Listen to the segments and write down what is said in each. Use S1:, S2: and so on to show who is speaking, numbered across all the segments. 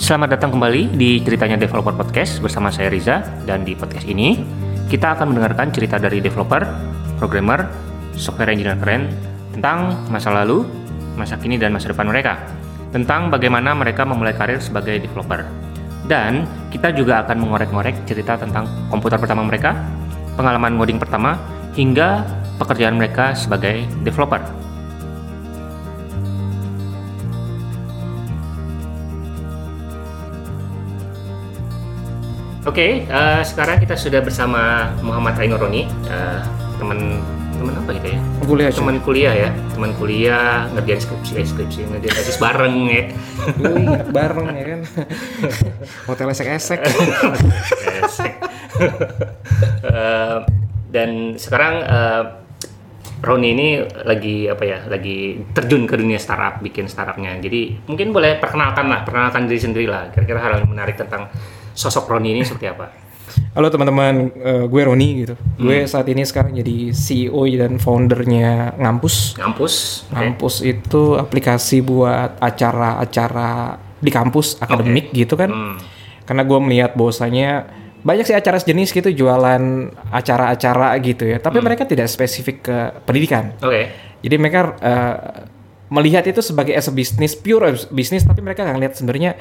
S1: Selamat datang kembali di Ceritanya Developer Podcast bersama saya Riza dan di podcast ini kita akan mendengarkan cerita dari developer, programmer, software engineer keren tentang masa lalu, masa kini dan masa depan mereka. Tentang bagaimana mereka memulai karir sebagai developer. Dan kita juga akan mengorek-ngorek cerita tentang komputer pertama mereka, pengalaman ngoding pertama, hingga pekerjaan mereka sebagai developer. Oke, eh, sekarang kita sudah bersama Muhammad Ainuroni, eh, teman teman apa gitu ya?
S2: Boleh aja.
S1: Teman kuliah ya, teman kuliah ngerjain skripsi, eh, skripsi ngerjain tesis bareng ya.
S2: Ui, bareng ya kan. Hotel esek-esek.
S1: Esek. Eh, dan sekarang eh, Roni ini lagi apa ya? Lagi terjun ke dunia startup, bikin startupnya. Jadi mungkin boleh perkenalkan lah, perkenalkan diri sendiri lah. Kira-kira hal yang menarik tentang sosok Roni ini seperti apa?
S2: Halo teman-teman, eh, gue Roni gitu. Gue saat ini sekarang jadi CEO dan foundernya Ngampus.
S1: Ngampus, oke.
S2: Ngampus itu aplikasi buat acara-acara di kampus akademik gitu kan.
S1: Hmm.
S2: Karena gue melihat bahwasanya banyak sih acara sejenis gitu jualan acara-acara gitu ya. Tapi mereka tidak spesifik ke pendidikan.
S1: Oke.
S2: Jadi mereka eh, melihat itu sebagai as a business, pure as business, tapi mereka nggak lihat sebenarnya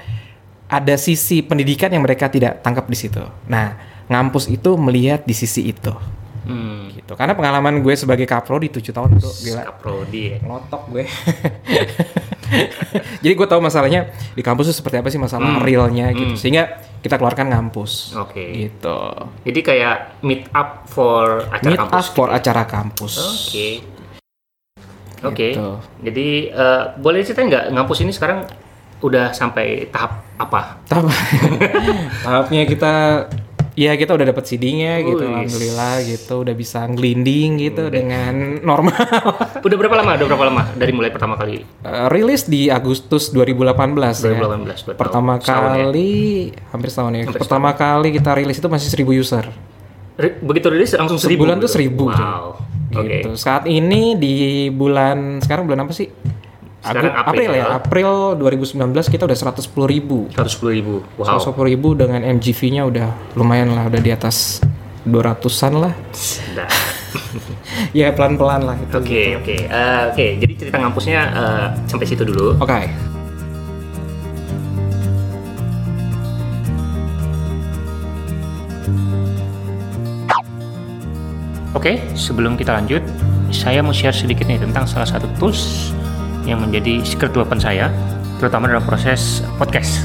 S2: ada sisi pendidikan yang mereka tidak tangkap di situ. Nah, ngampus itu melihat di sisi itu,
S1: Hmm.
S2: gitu. Karena pengalaman gue sebagai kapro di tujuh tahun itu gila
S1: Kaprodi ya.
S2: ngotok gue. Jadi gue tahu masalahnya di kampus itu seperti apa sih masalah realnya gitu. Sehingga kita keluarkan ngampus.
S1: Hmm. Oke.
S2: Gitu.
S1: Jadi kayak meet up for acara
S2: Meet
S1: kampus.
S2: us for acara kampus.
S1: Oke. Oke.
S2: Gitu.
S1: Jadi eh, boleh cerita nggak ngampus ini sekarang udah sampai tahap apa?
S2: tahap tahapnya kita ya kita udah dapat CD-nya gitu
S1: Wih.
S2: alhamdulillah gitu udah bisa ngelinding gitu dengan normal
S1: Udah berapa lama? Udah berapa lama dari mulai pertama kali
S2: Eh, rilis di Agustus 2018 ya
S1: 2018 dua tahun.
S2: pertama
S1: Setahun ya.
S2: kali hampir setahun ya pertama kali kita rilis itu masih 1000 user
S1: Ri- begitu rilis langsung seribu.
S2: Sebulan
S1: gitu.
S2: tuh seribu tuh.
S1: Wow. Oke.
S2: gitu saat ini di bulan sekarang bulan apa sih
S1: Sekarang
S2: Agu-
S1: April
S2: ya
S1: ya.
S2: April 2019 kita udah 110.000 ribu
S1: Seratus ribu. Wow.
S2: 110 ribu dengan MGV-nya udah lumayan lah, udah di atas 200-an lah.
S1: Nah.
S2: ya pelan-pelan lah itu.
S1: Oke oke Eh, oke. Jadi cerita ngampusnya eh, sampai situ dulu.
S2: Oke.
S1: Oke, sebelum kita lanjut, saya mau share sedikit nih tentang salah satu tools yang menjadi secret weapon saya, terutama dalam proses podcast.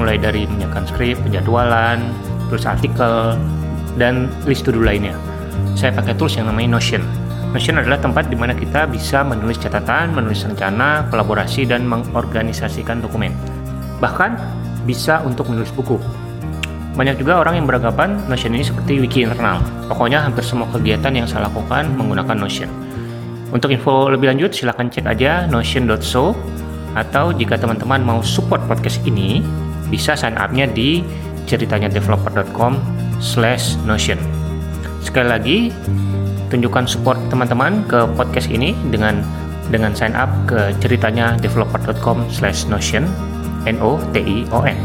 S1: Mulai dari menyiapkan skrip, penjadwalan, tulis artikel, dan list to do lainnya. Saya pakai tools yang namanya Notion. Notion adalah tempat di mana kita bisa menulis catatan, menulis rencana, kolaborasi, dan mengorganisasikan dokumen. Bahkan bisa untuk menulis buku. Banyak juga orang yang beranggapan Notion ini seperti wiki internal. Pokoknya hampir semua kegiatan yang saya lakukan menggunakan Notion. Untuk info lebih lanjut silahkan cek aja notion.so atau jika teman-teman mau support podcast ini bisa sign up-nya di ceritanyadeveloper.com slash notion. Sekali lagi, tunjukkan support teman-teman ke podcast ini dengan dengan sign up ke ceritanya developer.com slash notion n o t i o n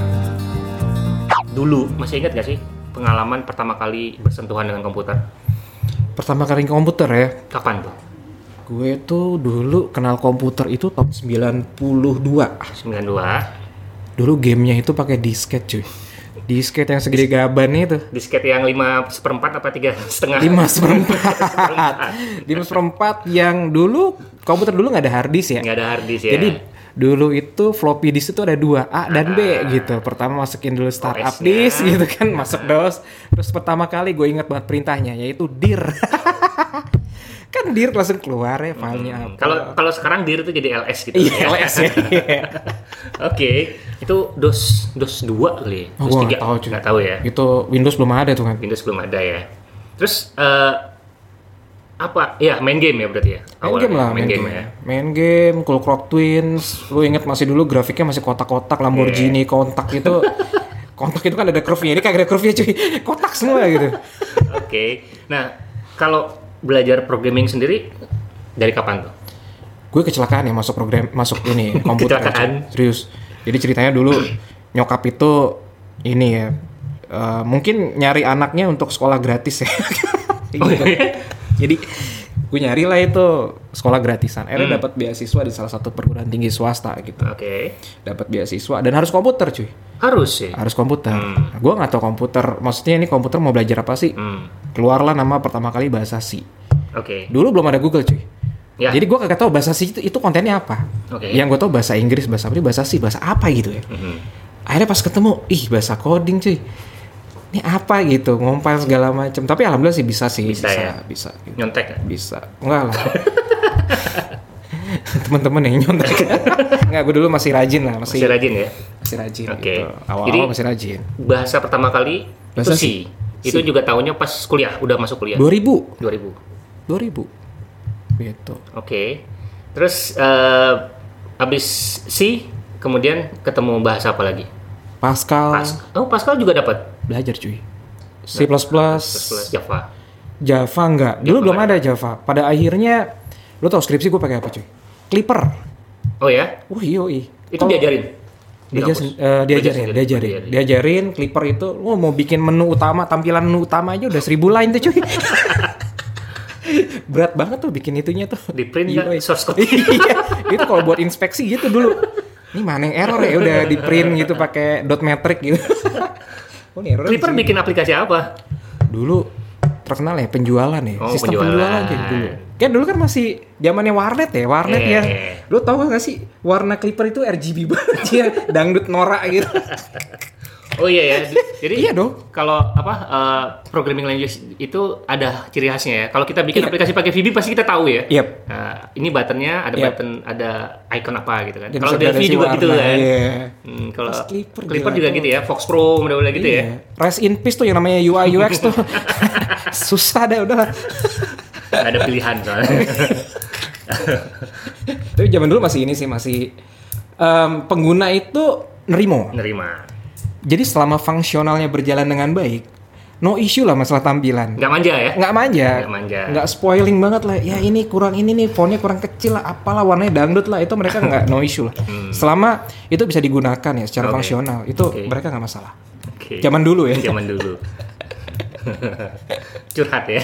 S1: dulu masih ingat gak sih pengalaman pertama kali bersentuhan dengan komputer
S2: Pertama kali ke komputer ya.
S1: kapan tuh
S2: Gue tuh dulu kenal komputer itu tahun 92.
S1: 92
S2: Dulu gamenya itu pakai disket cuy. Disket yang segede gaban itu.
S1: disket yang 5 seperempat apa tiga setengah
S2: 5 seperempat. 5 seperempat yang dulu komputer dulu nggak ada hard disk ya.
S1: nggak ada hard disk ya
S2: Jadi dulu itu floppy disk itu ada dua A dan
S1: Ah.
S2: B gitu. Pertama masukin dulu startup
S1: OS-nya.
S2: disk gitu kan, masuk DOS. Terus pertama kali gue ingat banget perintahnya yaitu dir. kan dir langsung keluar ya filenya
S1: Hmm,
S2: apa.
S1: kalau kalau sekarang dir itu jadi LS gitu
S2: Iya,
S1: ya.
S2: LS ya. iya.
S1: oke itu dos dos dua kali ya?
S2: Oh,
S1: dos
S2: gua
S1: tiga
S2: nggak tahu, cuy.
S1: nggak tahu ya
S2: Itu Windows belum ada tuh kan.
S1: Windows belum ada ya terus eh, apa ya main game ya berarti ya
S2: Main game lah, main, game,
S1: ya
S2: Main game, Cool Clock Twins. Lu inget masih dulu grafiknya masih kotak-kotak, Lamborghini,
S1: Iya.
S2: kontak itu. kontak itu kan ada curve-nya, ini kagak ada curve-nya cuy. Kotak semua gitu.
S1: oke nah kalau belajar programming sendiri dari kapan tuh
S2: gue kecelakaan ya masuk program masuk ini komputer
S1: Kecelakaan?
S2: serius jadi ceritanya dulu nyokap itu ini ya eh, mungkin nyari anaknya untuk sekolah gratis ya.
S1: Oh,
S2: Kayak gitu.
S1: iya.
S2: Jadi gue nyari lah itu sekolah gratisan.
S1: Hmm.
S2: Akhirnya dapat beasiswa di salah satu perguruan tinggi swasta gitu.
S1: Oke.
S2: Dapat beasiswa dan harus komputer cuy.
S1: Harus ya? sih.
S2: Harus komputer.
S1: Hmm.
S2: Gue nggak tahu komputer. Maksudnya ini komputer mau belajar apa sih?
S1: Hmm.
S2: Keluarlah nama pertama kali bahasa C.
S1: Oke.
S2: Dulu belum ada Google cuy.
S1: Ya.
S2: Jadi gue kagak tahu bahasa C itu, itu kontennya apa.
S1: Oke.
S2: Yang gue tahu bahasa Inggris, bahasa apa, bahasa C, bahasa apa gitu ya.
S1: Mhm.
S2: Akhirnya pas ketemu, ih bahasa coding cuy. Ini apa gitu, ngompal segala macam. Tapi alhamdulillah sih bisa sih,
S1: Bisa ya?
S2: bisa, gitu.
S1: Nyontek nggak?
S2: bisa. Enggak lah. Temen-temen yang nyontek. Enggak, gue dulu masih rajin lah, masih
S1: Masih rajin ya.
S2: masih rajin
S1: Oke.
S2: gitu. Awal-awal
S1: Jadi-
S2: masih rajin.
S1: Bahasa pertama kali
S2: Bahasa
S1: itu si. Itu juga tahunnya pas kuliah, udah masuk kuliah.
S2: 2000,
S1: 2000.
S2: 2000. Gitu.
S1: Oke. Terus eh abis si kemudian ketemu bahasa apa lagi?
S2: Pascal
S1: Pas oh, Pascal juga dapat.
S2: belajar cuy. C++, plus
S1: Plus Java.
S2: Java enggak. Dulu belum
S1: ya.
S2: ada Java. Pada akhirnya lu tau skripsi gue pakai apa cuy? Clipper.
S1: Oh ya,
S2: Wah iya iya.
S1: itu diajarin. Di
S2: Diajar,
S1: kampus?
S2: eh,
S1: Belajar
S2: diajarin,
S1: sendiri?
S2: diajarin,
S1: Diajarin.
S2: diajarin. Clipper itu, lu mau bikin menu utama, tampilan menu utama aja udah seribu line tuh cuy. Berat banget tuh bikin itunya tuh.
S1: Di print nggak
S2: UI.
S1: source code?
S2: iya, itu kalau buat inspeksi gitu dulu. Ini mana yang error ya udah di print gitu pakai dot metric gitu. oh, ini errornya di
S1: Clipper bikin aplikasi apa?
S2: dulu terkenal ya penjualan ya
S1: Oh,
S2: sistem
S1: penjualan.
S2: penjualan kayak dulu kan dulu kan masih zamannya warnet ya warnet
S1: Eh.
S2: ya lu tau gak sih warna clipper itu RGB banget ya dangdut norak gitu
S1: Oh iya ya. Di- Jadi
S2: Iya dong.
S1: Kalau apa eh, programming language itu ada ciri khasnya ya. Kalau kita bikin aplikasi pakai VB pasti kita tahu ya.
S2: Iya. Yep.
S1: Nah, ini buttonnya ada
S2: Yep.
S1: button ada icon apa gitu kan.
S2: Dia
S1: Kalau
S2: bisa
S1: Delphi
S2: gradasi
S1: juga gitu
S2: warna,
S1: kan.
S2: iya.
S1: Hmm, kalau
S2: Terus Clipper
S1: Clipper,
S2: gila,
S1: juga
S2: itu.
S1: gitu ya. Fox Pro mudah-mudahan gitu ya.
S2: Iya. rest in peace tuh yang namanya UI UX tuh susah deh udah
S1: Nggak ada pilihan soalnya.
S2: tapi zaman dulu masih ini sih masih em, pengguna itu nerimo
S1: Nerima.
S2: jadi selama fungsionalnya berjalan dengan baik no issue lah masalah tampilan
S1: Nggak manja ya.
S2: nggak manja
S1: Nggak manja.
S2: Nggak spoiling banget lah ya ini kurang ini nih fontnya kurang kecil lah apalah warnanya dangdut lah itu mereka nggak no issue lah selama itu bisa digunakan ya secara
S1: Hmm. Oke.
S2: fungsional itu
S1: Oke.
S2: mereka nggak masalah
S1: Oke. Iya.
S2: zaman dulu ya
S1: Zaman dulu. Curhat ya.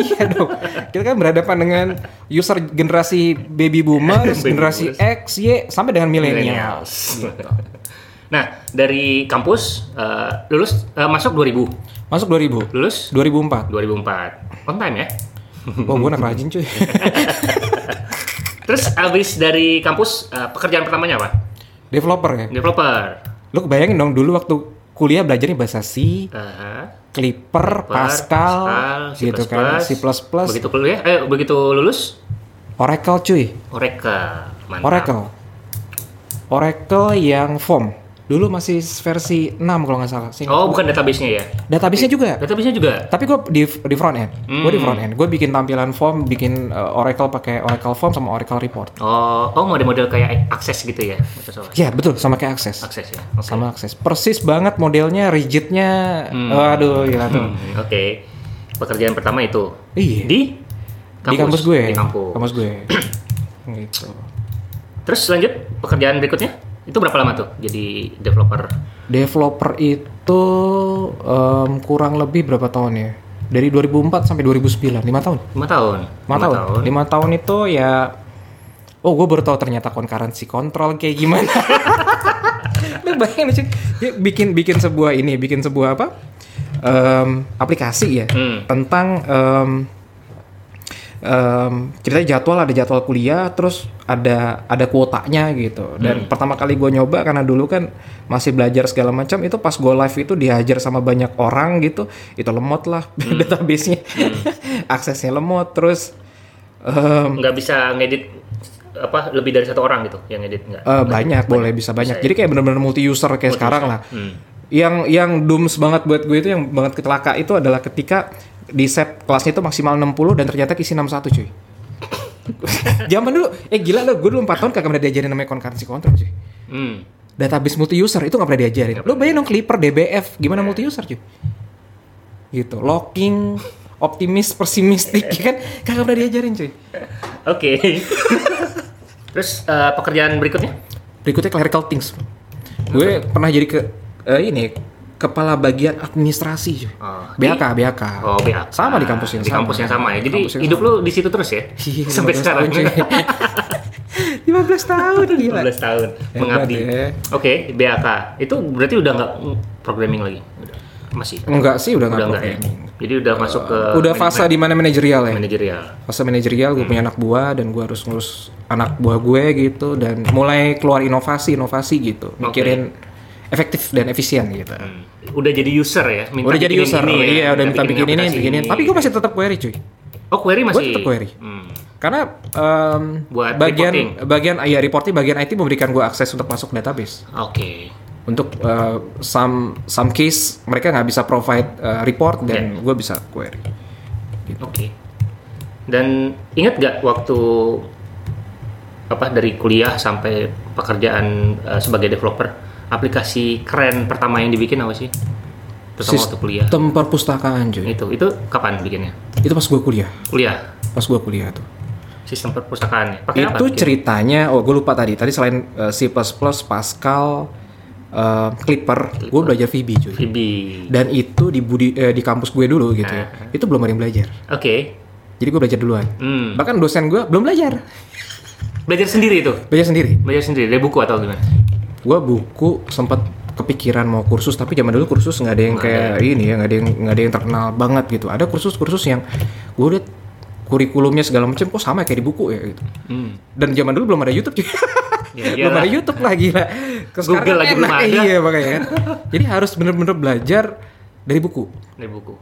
S2: iya dong kita kan berhadapan dengan user generasi baby boomer
S1: Baby
S2: generasi X Y sampai dengan milenial
S1: Millennials. nah, dari kampus eh, lulus eh, masuk 2000.
S2: masuk 2000
S1: Lulus
S2: 2004
S1: 2004. On time ya.
S2: wah gue Oh, anak rajin cuy
S1: Terus abis dari kampus eh, pekerjaan pertamanya apa?
S2: developer ya
S1: Developer.
S2: lu kebayangin dong dulu waktu kuliah belajarnya bahasa C
S1: Aha.
S2: Clipper,
S1: Developer,
S2: Pascal, gitu kan, C++,
S1: Begitu kuliah, eh begitu lulus
S2: Oracle cuy,
S1: Oracle. Mantap.
S2: Oracle, Oracle yang form. Dulu masih versi 6 kalau nggak salah. Sing-
S1: Oh, bukan database-nya ya.
S2: Database-nya juga.
S1: Database-nya juga.
S2: Tapi gue di, di front end, gue
S1: Hmm.
S2: di front end, gue bikin tampilan form, bikin uh, Oracle pakai Oracle form sama Oracle report.
S1: Oh, oh model-model kayak akses gitu ya. Microsoft.
S2: Iya betul, sama kayak akses,
S1: Akses ya. Oke.
S2: sama akses. Persis banget modelnya, rigidnya, waduh gila tuh.
S1: Hmm, Oke. Pekerjaan pertama itu.
S2: Iya.
S1: Di
S2: Di kampus
S1: Di
S2: gue,
S1: kampus.
S2: gue. gitu.
S1: Terus lanjut pekerjaan berikutnya? Itu berapa lama tuh jadi developer?
S2: Developer itu em, kurang lebih berapa tahun ya? Dari 2004 sampai 2009, 5 tahun.
S1: 5 tahun.
S2: 5 tahun. 5 tahun itu ya Oh, gue baru tahu ternyata concurrency control kayak gimana. Lu bayangin lucu. Dia bikin bikin sebuah ini, bikin sebuah apa? Em, aplikasi ya
S1: Hmm.
S2: tentang em em, ceritanya jadwal ada jadwal kuliah, terus ada ada kuotanya gitu. Dan pertama kali gue nyoba karena dulu kan masih belajar segala macam, itu pas gue live itu dihajar sama banyak orang gitu, itu lemot lah database-nya, aksesnya lemot, terus em,
S1: Nggak bisa ngedit apa lebih dari satu orang gitu yang ngedit nggak?
S2: Eh, banyak, boleh bisa iya. banyak. Jadi kayak bener-bener multi user kayak sekarang lah.
S1: Hmm.
S2: Yang yang dooms banget buat gue itu yang banget kecelaka itu adalah ketika di set kelasnya itu maksimal 60 dan ternyata isi 61 cuy. Zaman dulu, eh gila lo, gue dulu 4 tahun kagak pernah diajarin namanya concurrency control cuy.
S1: Hmm.
S2: Database multi user itu nggak pernah Iya. diajarin. Lo bayangin dong Clipper, DBF, gimana multi user cuy? Gitu, locking, optimis, pesimistik, ya kan kagak pernah diajarin cuy.
S1: Oke. Terus eh, pekerjaan berikutnya?
S2: Berikutnya clerical things. Gue pernah jadi ke eh, ini kepala bagian administrasi. cuy.
S1: Oh, di-
S2: BAK, BAK.
S1: Oh, BA.
S2: Sama di kampus yang
S1: di
S2: sama.
S1: kampus yang sama ya. Jadi
S2: Kampus yang
S1: hidup
S2: sama.
S1: lu di situ terus ya.
S2: Iya,
S1: Sampai
S2: 15
S1: sekarang.
S2: tahun, cuy. 15 tahun gila.
S1: 15 tahun
S2: Hebat
S1: mengabdi.
S2: ya.
S1: Oke, BAK. Itu berarti udah nggak programming lagi. Udah. Masih.
S2: Enggak sih
S1: udah
S2: udah enggak
S1: nggak ya. Eh, Jadi udah masuk ke
S2: Udah fase di mana manajerial ya.
S1: manajerial.
S2: Fase manajerial
S1: Hmm.
S2: gue punya anak buah dan gue harus ngurus anak buah gue gitu dan mulai keluar inovasi-inovasi gitu. Mikirin efektif dan efisien gitu.
S1: Hmm. Udah jadi user ya, minta
S2: udah jadi
S1: bikinin
S2: user,
S1: ini ya,
S2: iya udah minta bikin ini,
S1: aplikasi
S2: bikin ini. Tapi gue masih tetap query cuy,
S1: Oh, query masih.
S2: tetap query.
S1: Hmm.
S2: karena em,
S1: Buat
S2: bagian
S1: reporting.
S2: bagian ya reporting bagian IT memberikan gue akses untuk masuk ke database.
S1: Oke.
S2: Untuk eh, some some case mereka nggak bisa provide eh, report
S1: Iya.
S2: dan gue bisa query. Gitu.
S1: Oke. Dan ingat gak waktu apa dari kuliah sampai pekerjaan eh, sebagai developer, aplikasi keren pertama yang dibikin apa sih? Pertama waktu kuliah.
S2: Sistem perpustakaan cuy.
S1: Itu itu kapan bikinnya?
S2: Itu pas gue kuliah,
S1: Kuliah.
S2: pas gue kuliah tuh.
S1: Sistem perpustakaannya. Pakai apa?
S2: itu
S1: bikin?
S2: ceritanya, oh gue lupa tadi. Tadi selain eh, C++, Pascal, eh, Clipper, gue belajar VB cuy.
S1: Phoebe.
S2: Dan itu di budi eh, di kampus gue dulu gitu ya.
S1: Eh.
S2: Itu belum ada yang belajar.
S1: Oke.
S2: Jadi gue belajar duluan.
S1: Hmm.
S2: Bahkan dosen gue belum belajar.
S1: Belajar sendiri itu.
S2: Belajar sendiri.
S1: Belajar sendiri dari buku atau gimana?
S2: Gue buku sempat kepikiran mau kursus tapi zaman dulu kursus nggak ada yang kayak ini ya nggak ada yang nggak ada yang terkenal banget gitu ada kursus-kursus yang gue liat kurikulumnya segala macam kok sama kayak di buku ya gitu
S1: Hmm.
S2: dan zaman dulu belum ada YouTube juga.
S1: Ya,
S2: belum
S1: iyalah.
S2: ada YouTube lagi lah. Ke sekarang
S1: Google lagi belum
S2: enak.
S1: ada.
S2: Iya makanya kan. Jadi harus bener-bener belajar dari buku.
S1: Dari buku.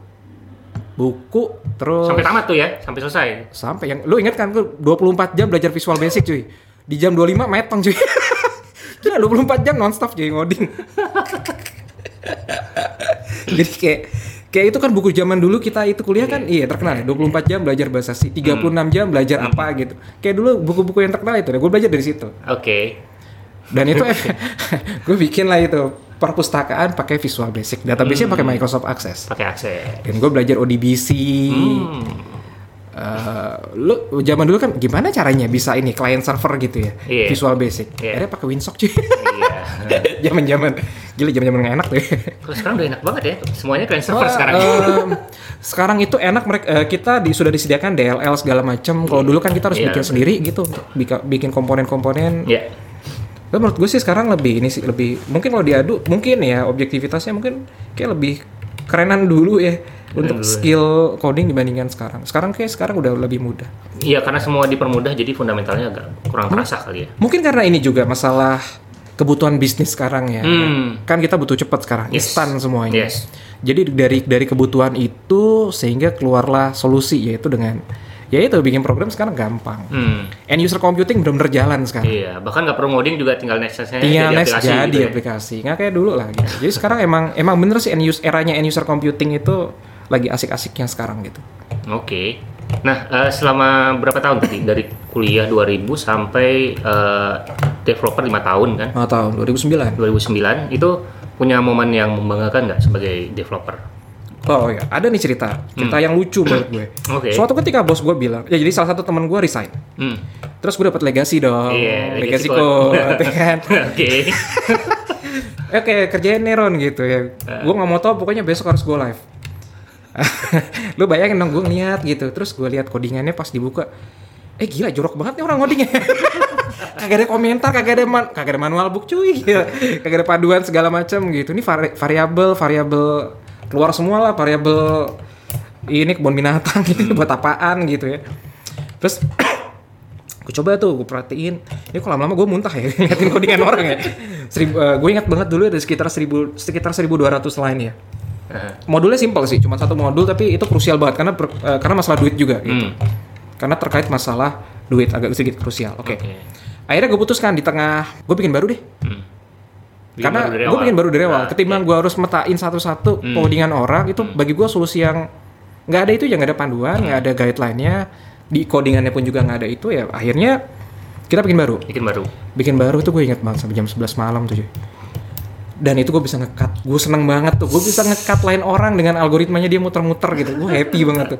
S2: Buku terus
S1: Sampai tamat tuh ya, sampai selesai.
S2: sampai yang lu ingat kan tuh 24 jam belajar visual basic cuy. Di jam 25 metong cuy. Gila 24 jam nonstop jadi ngoding. Jadi kayak kayak itu kan buku zaman dulu kita itu kuliah kan iya terkenal ya 24 jam belajar bahasa C, 36 jam belajar apa gitu. Kayak dulu buku-buku yang terkenal itu, gue belajar dari situ
S1: Oke.
S2: dan itu gue bikin lah itu perpustakaan pakai Visual Basic database-nya pakai Microsoft Access
S1: Pakai akses.
S2: dan gue belajar ODBC
S1: Hmm.
S2: Eh, lu zaman dulu kan gimana caranya bisa ini client server gitu ya
S1: Iya.
S2: Visual Basic
S1: Iya.
S2: akhirnya pakai Winsock cuy
S1: Iya.
S2: zaman zaman gila zaman zaman enak tuh ya.
S1: Kalau sekarang udah enak banget ya, semuanya client
S2: Oh,
S1: server sekarang.
S2: Em, sekarang itu enak mereka eh, kita di, sudah disediakan DLL segala macam kalau dulu kan kita harus
S1: Iya,
S2: bikin
S1: bener.
S2: sendiri gitu untuk bika- bikin komponen-komponen
S1: Iya.
S2: Tapi menurut gue sih sekarang lebih ini sih lebih mungkin kalau diadu mungkin ya objektivitasnya mungkin kayak lebih kerenan dulu ya untuk
S1: dulu ya.
S2: skill coding dibandingkan sekarang. Sekarang kayak sekarang udah lebih mudah.
S1: Iya, karena semua dipermudah jadi fundamentalnya agak
S2: Hmm.
S1: kurang terasa kali ya.
S2: Mungkin karena ini juga masalah kebutuhan bisnis sekarang ya.
S1: Hmm.
S2: Kan kita butuh cepat sekarang,
S1: Yes.
S2: instan semuanya.
S1: Yes.
S2: Jadi dari dari kebutuhan itu sehingga keluarlah solusi yaitu dengan yaitu bikin program sekarang gampang.
S1: Hmm.
S2: End user computing benar-benar jalan sekarang.
S1: Iya, bahkan nggak perlu ngoding juga tinggal next-nya
S2: Iya, next jadi
S1: gitu ya.
S2: aplikasi. Nggak kayak dulu lah. Gitu. Jadi sekarang emang emang bener sih end user eranya end user computing itu lagi asik-asiknya sekarang gitu.
S1: Oke. Nah, eh, selama berapa tahun tadi dari kuliah 2000 sampai eh, developer 5 tahun kan?
S2: Oh, tahun 2009.
S1: 2009 itu punya momen yang membanggakan nggak sebagai developer?
S2: Oh iya, ada nih cerita. Cerita yang lucu menurut gue.
S1: Hmm. Oke.
S2: Suatu ketika bos gue bilang, ya jadi salah satu teman gue resign.
S1: Hmm.
S2: Terus gue dapat legasi dong.
S1: Iya, legacy
S2: legasi
S1: code.
S2: code, ya kan.
S1: Oke.
S2: Eh kayak kerjain Neron gitu
S1: Eh.
S2: ya. Gue nggak mau tahu, pokoknya besok harus go live. lu bayangin dong gue ngeliat gitu terus gue lihat codingannya pas dibuka eh gila jorok banget nih orang codingnya kagak ada komentar kagak ada man- kagak ada manual book cuy gila. kagak ada paduan segala macam gitu ini vari- variabel variabel keluar semua lah variabel ini kebun binatang gitu buat apaan gitu ya terus gue coba tuh gue perhatiin ini kalau lama-lama gue muntah ya ngeliatin codingan orang ya Seribu- eh, gue ingat banget dulu ada sekitar 1000 sekitar 1200 line ya
S1: Eh,
S2: modulnya simpel sih, cuma satu modul tapi itu krusial banget karena per- eh, karena masalah duit juga gitu.
S1: Hmm.
S2: Karena terkait masalah duit agak sedikit krusial. Oke.
S1: Oke.
S2: Akhirnya gue putuskan di tengah, gue bikin baru deh.
S1: Hmm. Bikin
S2: karena
S1: baru dari
S2: gue
S1: awal.
S2: bikin baru dari awal.
S1: Nah, Hmm.
S2: Ketimbang gue harus metain satu-satu codingan orang itu bagi gue solusi yang nggak ada itu ya nggak ada
S1: Hmm.
S2: panduan, nggak ada guideline-nya. Di codingannya pun juga nggak ada itu ya. Akhirnya kita bikin baru.
S1: bikin baru.
S2: Bikin baru tuh gue inget banget sampai jam 11 malam tuh cuy. Dan itu gue bisa ngekat, gue seneng banget tuh. Gue bisa ngekat lain orang dengan algoritmanya dia muter-muter gitu. Gue happy banget tuh.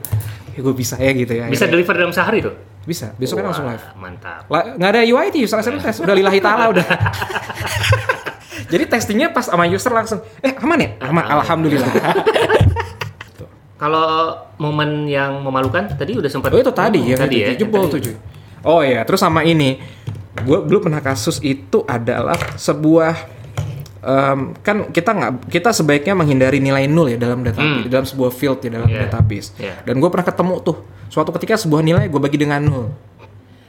S2: Ya gue bisa ya gitu ya.
S1: Bisa deliver dalam sehari tuh.
S2: Bisa. Besok kan langsung
S1: Wah,
S2: live.
S1: Mantap.
S2: La, nggak ada UI tuh, salah satu tes. Udah lillahi ta'ala udah. Jadi testingnya pas sama user langsung, eh aman ya? Aman, alhamdulillah.
S1: Kalau momen yang memalukan tadi udah sempat.
S2: oh itu tadi ya,
S1: Tadi ya.
S2: jebol
S1: Tadi.
S2: tuh cuy. Oh iya, terus sama ini, gue dulu pernah kasus itu adalah sebuah em, kan kita nggak kita sebaiknya menghindari nilai nol ya dalam database
S1: Hmm.
S2: dalam sebuah field ya dalam
S1: Iya.
S2: database.
S1: Iya.
S2: Dan gue pernah ketemu tuh suatu ketika sebuah nilai gue bagi dengan nol.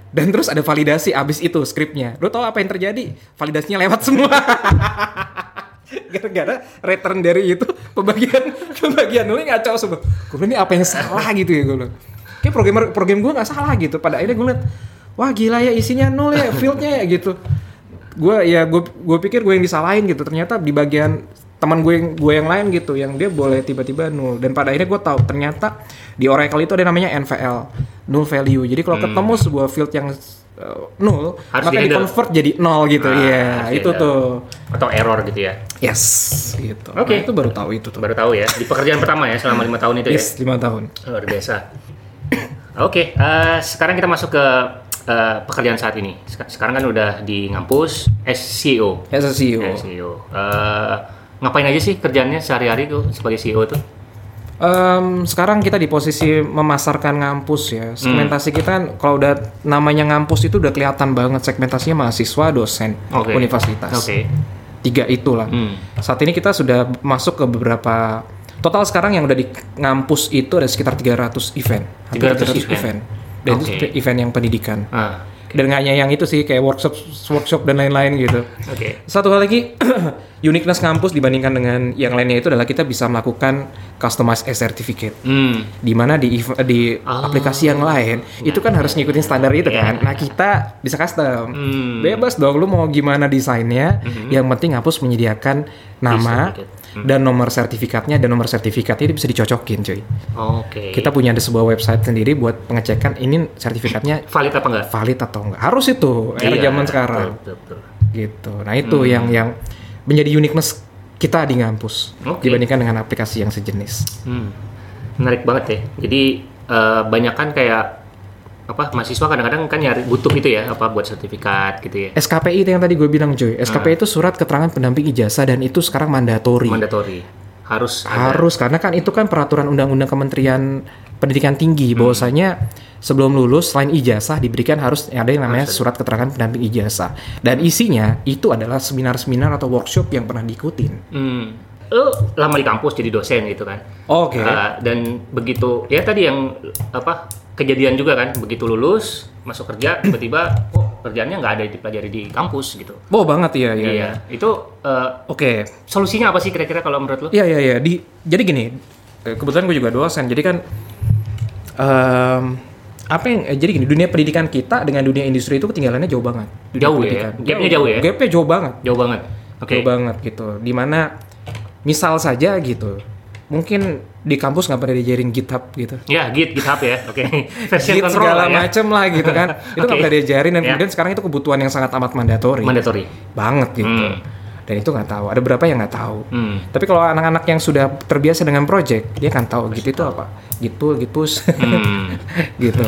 S2: Dan terus ada validasi abis itu skripnya. Lo tau apa yang terjadi? Validasinya lewat semua. Gara-gara return dari itu pembagian pembagian nolnya ngaco semua. Gue bilang ini apa yang salah gitu ya gue bilang. Kayak programmer program gue nggak salah gitu. Pada akhirnya gue liat, wah gila ya isinya nol ya fieldnya ya gitu. Gue ya gue gue pikir gue yang disalahin gitu. Ternyata di bagian teman gue yang gue yang lain gitu yang dia boleh tiba-tiba nol dan pada akhirnya gue tahu ternyata di Oracle itu ada namanya NVL null value jadi kalau ketemu sebuah field yang uh, nul
S1: Hmm. Harus
S2: maka di
S1: di-handle.
S2: convert jadi nol gitu
S1: Ah,
S2: Iya
S1: harus
S2: itu
S1: di-handle.
S2: tuh
S1: Atau error gitu ya.
S2: yes gitu
S1: Oke.
S2: Nah, itu baru tahu itu tuh
S1: Baru tahu ya. Di pekerjaan pertama ya selama lima tahun itu ya.
S2: yes lima tahun
S1: Luar biasa. Oke, eh, sekarang kita masuk ke eh, pekerjaan saat ini. Sek- Sekarang kan udah di ngampus eh, E SEO.
S2: as a CEO
S1: SEO. Eh, ngapain aja sih kerjaannya sehari-hari tuh sebagai CEO tuh?
S2: Em, sekarang kita di posisi memasarkan ngampus ya.
S1: Hmm.
S2: Segmentasi kita kan kalau udah namanya ngampus itu udah kelihatan banget segmentasinya mahasiswa, dosen,
S1: Oke.
S2: Oh, universitas.
S1: Oke.
S2: Tiga itulah.
S1: Hmm.
S2: Saat ini kita sudah masuk ke beberapa total sekarang yang udah di ngampus itu ada sekitar 300 event. Hampir
S1: 300 event.
S2: Dan itu
S1: Oke.
S2: event yang pendidikan.
S1: Ah,
S2: Dan nggak hanya yang itu sih kayak workshop workshop dan lain-lain gitu.
S1: oke.
S2: Satu hal lagi, uniqueness kampus dibandingkan dengan yang lainnya itu adalah kita bisa melakukan customized as certificate
S1: Hmm.
S2: di mana di ev- di
S1: Ah.
S2: aplikasi yang lain itu kan harus ngikutin standar itu
S1: Iya.
S2: kan. Nah, kita bisa custom.
S1: Hmm.
S2: Bebas dong lu mau gimana desainnya, yang penting hapus menyediakan nama
S1: Iya, Certificate. Hmm.
S2: dan nomor sertifikatnya dan nomor sertifikatnya itu bisa dicocokin, cuy.
S1: Oke.
S2: Kita punya ada sebuah website sendiri buat pengecekan ini sertifikatnya
S1: valid apa enggak?
S2: valid atau enggak. Harus itu era
S1: Iya,
S2: zaman sekarang
S1: Betul, betul, betul.
S2: gitu. Nah, itu yang yang menjadi uniqueness kita di ngampus
S1: Oke.
S2: dibandingkan dengan aplikasi yang sejenis.
S1: Hmm. Menarik banget ya. Jadi eh banyak kan kayak apa mahasiswa kadang-kadang kan nyari butuh itu ya apa buat sertifikat gitu ya.
S2: SKPI itu yang tadi gue bilang cuy, SKPI itu surat keterangan pendamping ijazah dan itu sekarang Ah. mandatori.
S1: Mandatory. Harus ada.
S2: Harus karena kan itu kan peraturan undang-undang Kementerian Pendidikan Tinggi bahwasanya sebelum lulus selain ijazah diberikan harus ada yang namanya surat keterangan pendamping ijazah dan isinya itu adalah seminar-seminar atau workshop yang pernah diikutin.
S1: Hmm. Lu lama di kampus jadi dosen gitu kan.
S2: Oke.
S1: Eh, dan begitu ya tadi yang apa kejadian juga kan begitu lulus masuk kerja tiba-tiba oh kerjaannya nggak ada dipelajari di kampus gitu.
S2: Oh banget ya ya.
S1: Iya. Itu eh,
S2: Oke.
S1: solusinya apa sih kira-kira kalau menurut lu?
S2: Iya iya iya. Di jadi gini, eh, kebetulan gue juga dosen. Jadi kan em, apa yang eh, jadi gini dunia pendidikan kita dengan dunia industri itu ketinggalannya jauh banget. Dunia
S1: Jauh ya?
S2: pendidikan.
S1: Gapnya jauh ya?
S2: Gapnya jauh banget.
S1: Jauh banget. Oke.
S2: Jauh banget gitu. Dimana misal saja gitu, mungkin di kampus nggak pernah diajarin GitHub gitu.
S1: Ya, Git, GitHub ya. Oke. Version
S2: Git
S1: control
S2: segala
S1: lah ya.
S2: macem lah gitu kan. Itu nggak
S1: Oke.
S2: pernah diajarin dan
S1: Ya.
S2: kemudian sekarang itu kebutuhan yang sangat amat mandatori.
S1: Mandatory.
S2: banget gitu.
S1: Hmm.
S2: Dan itu nggak tahu. Ada berapa yang nggak tahu.
S1: Hmm.
S2: Tapi kalau anak-anak yang sudah terbiasa dengan project, dia kan tahu gitu itu apa. Gitu, gitu,
S1: Hmm.
S2: gitu.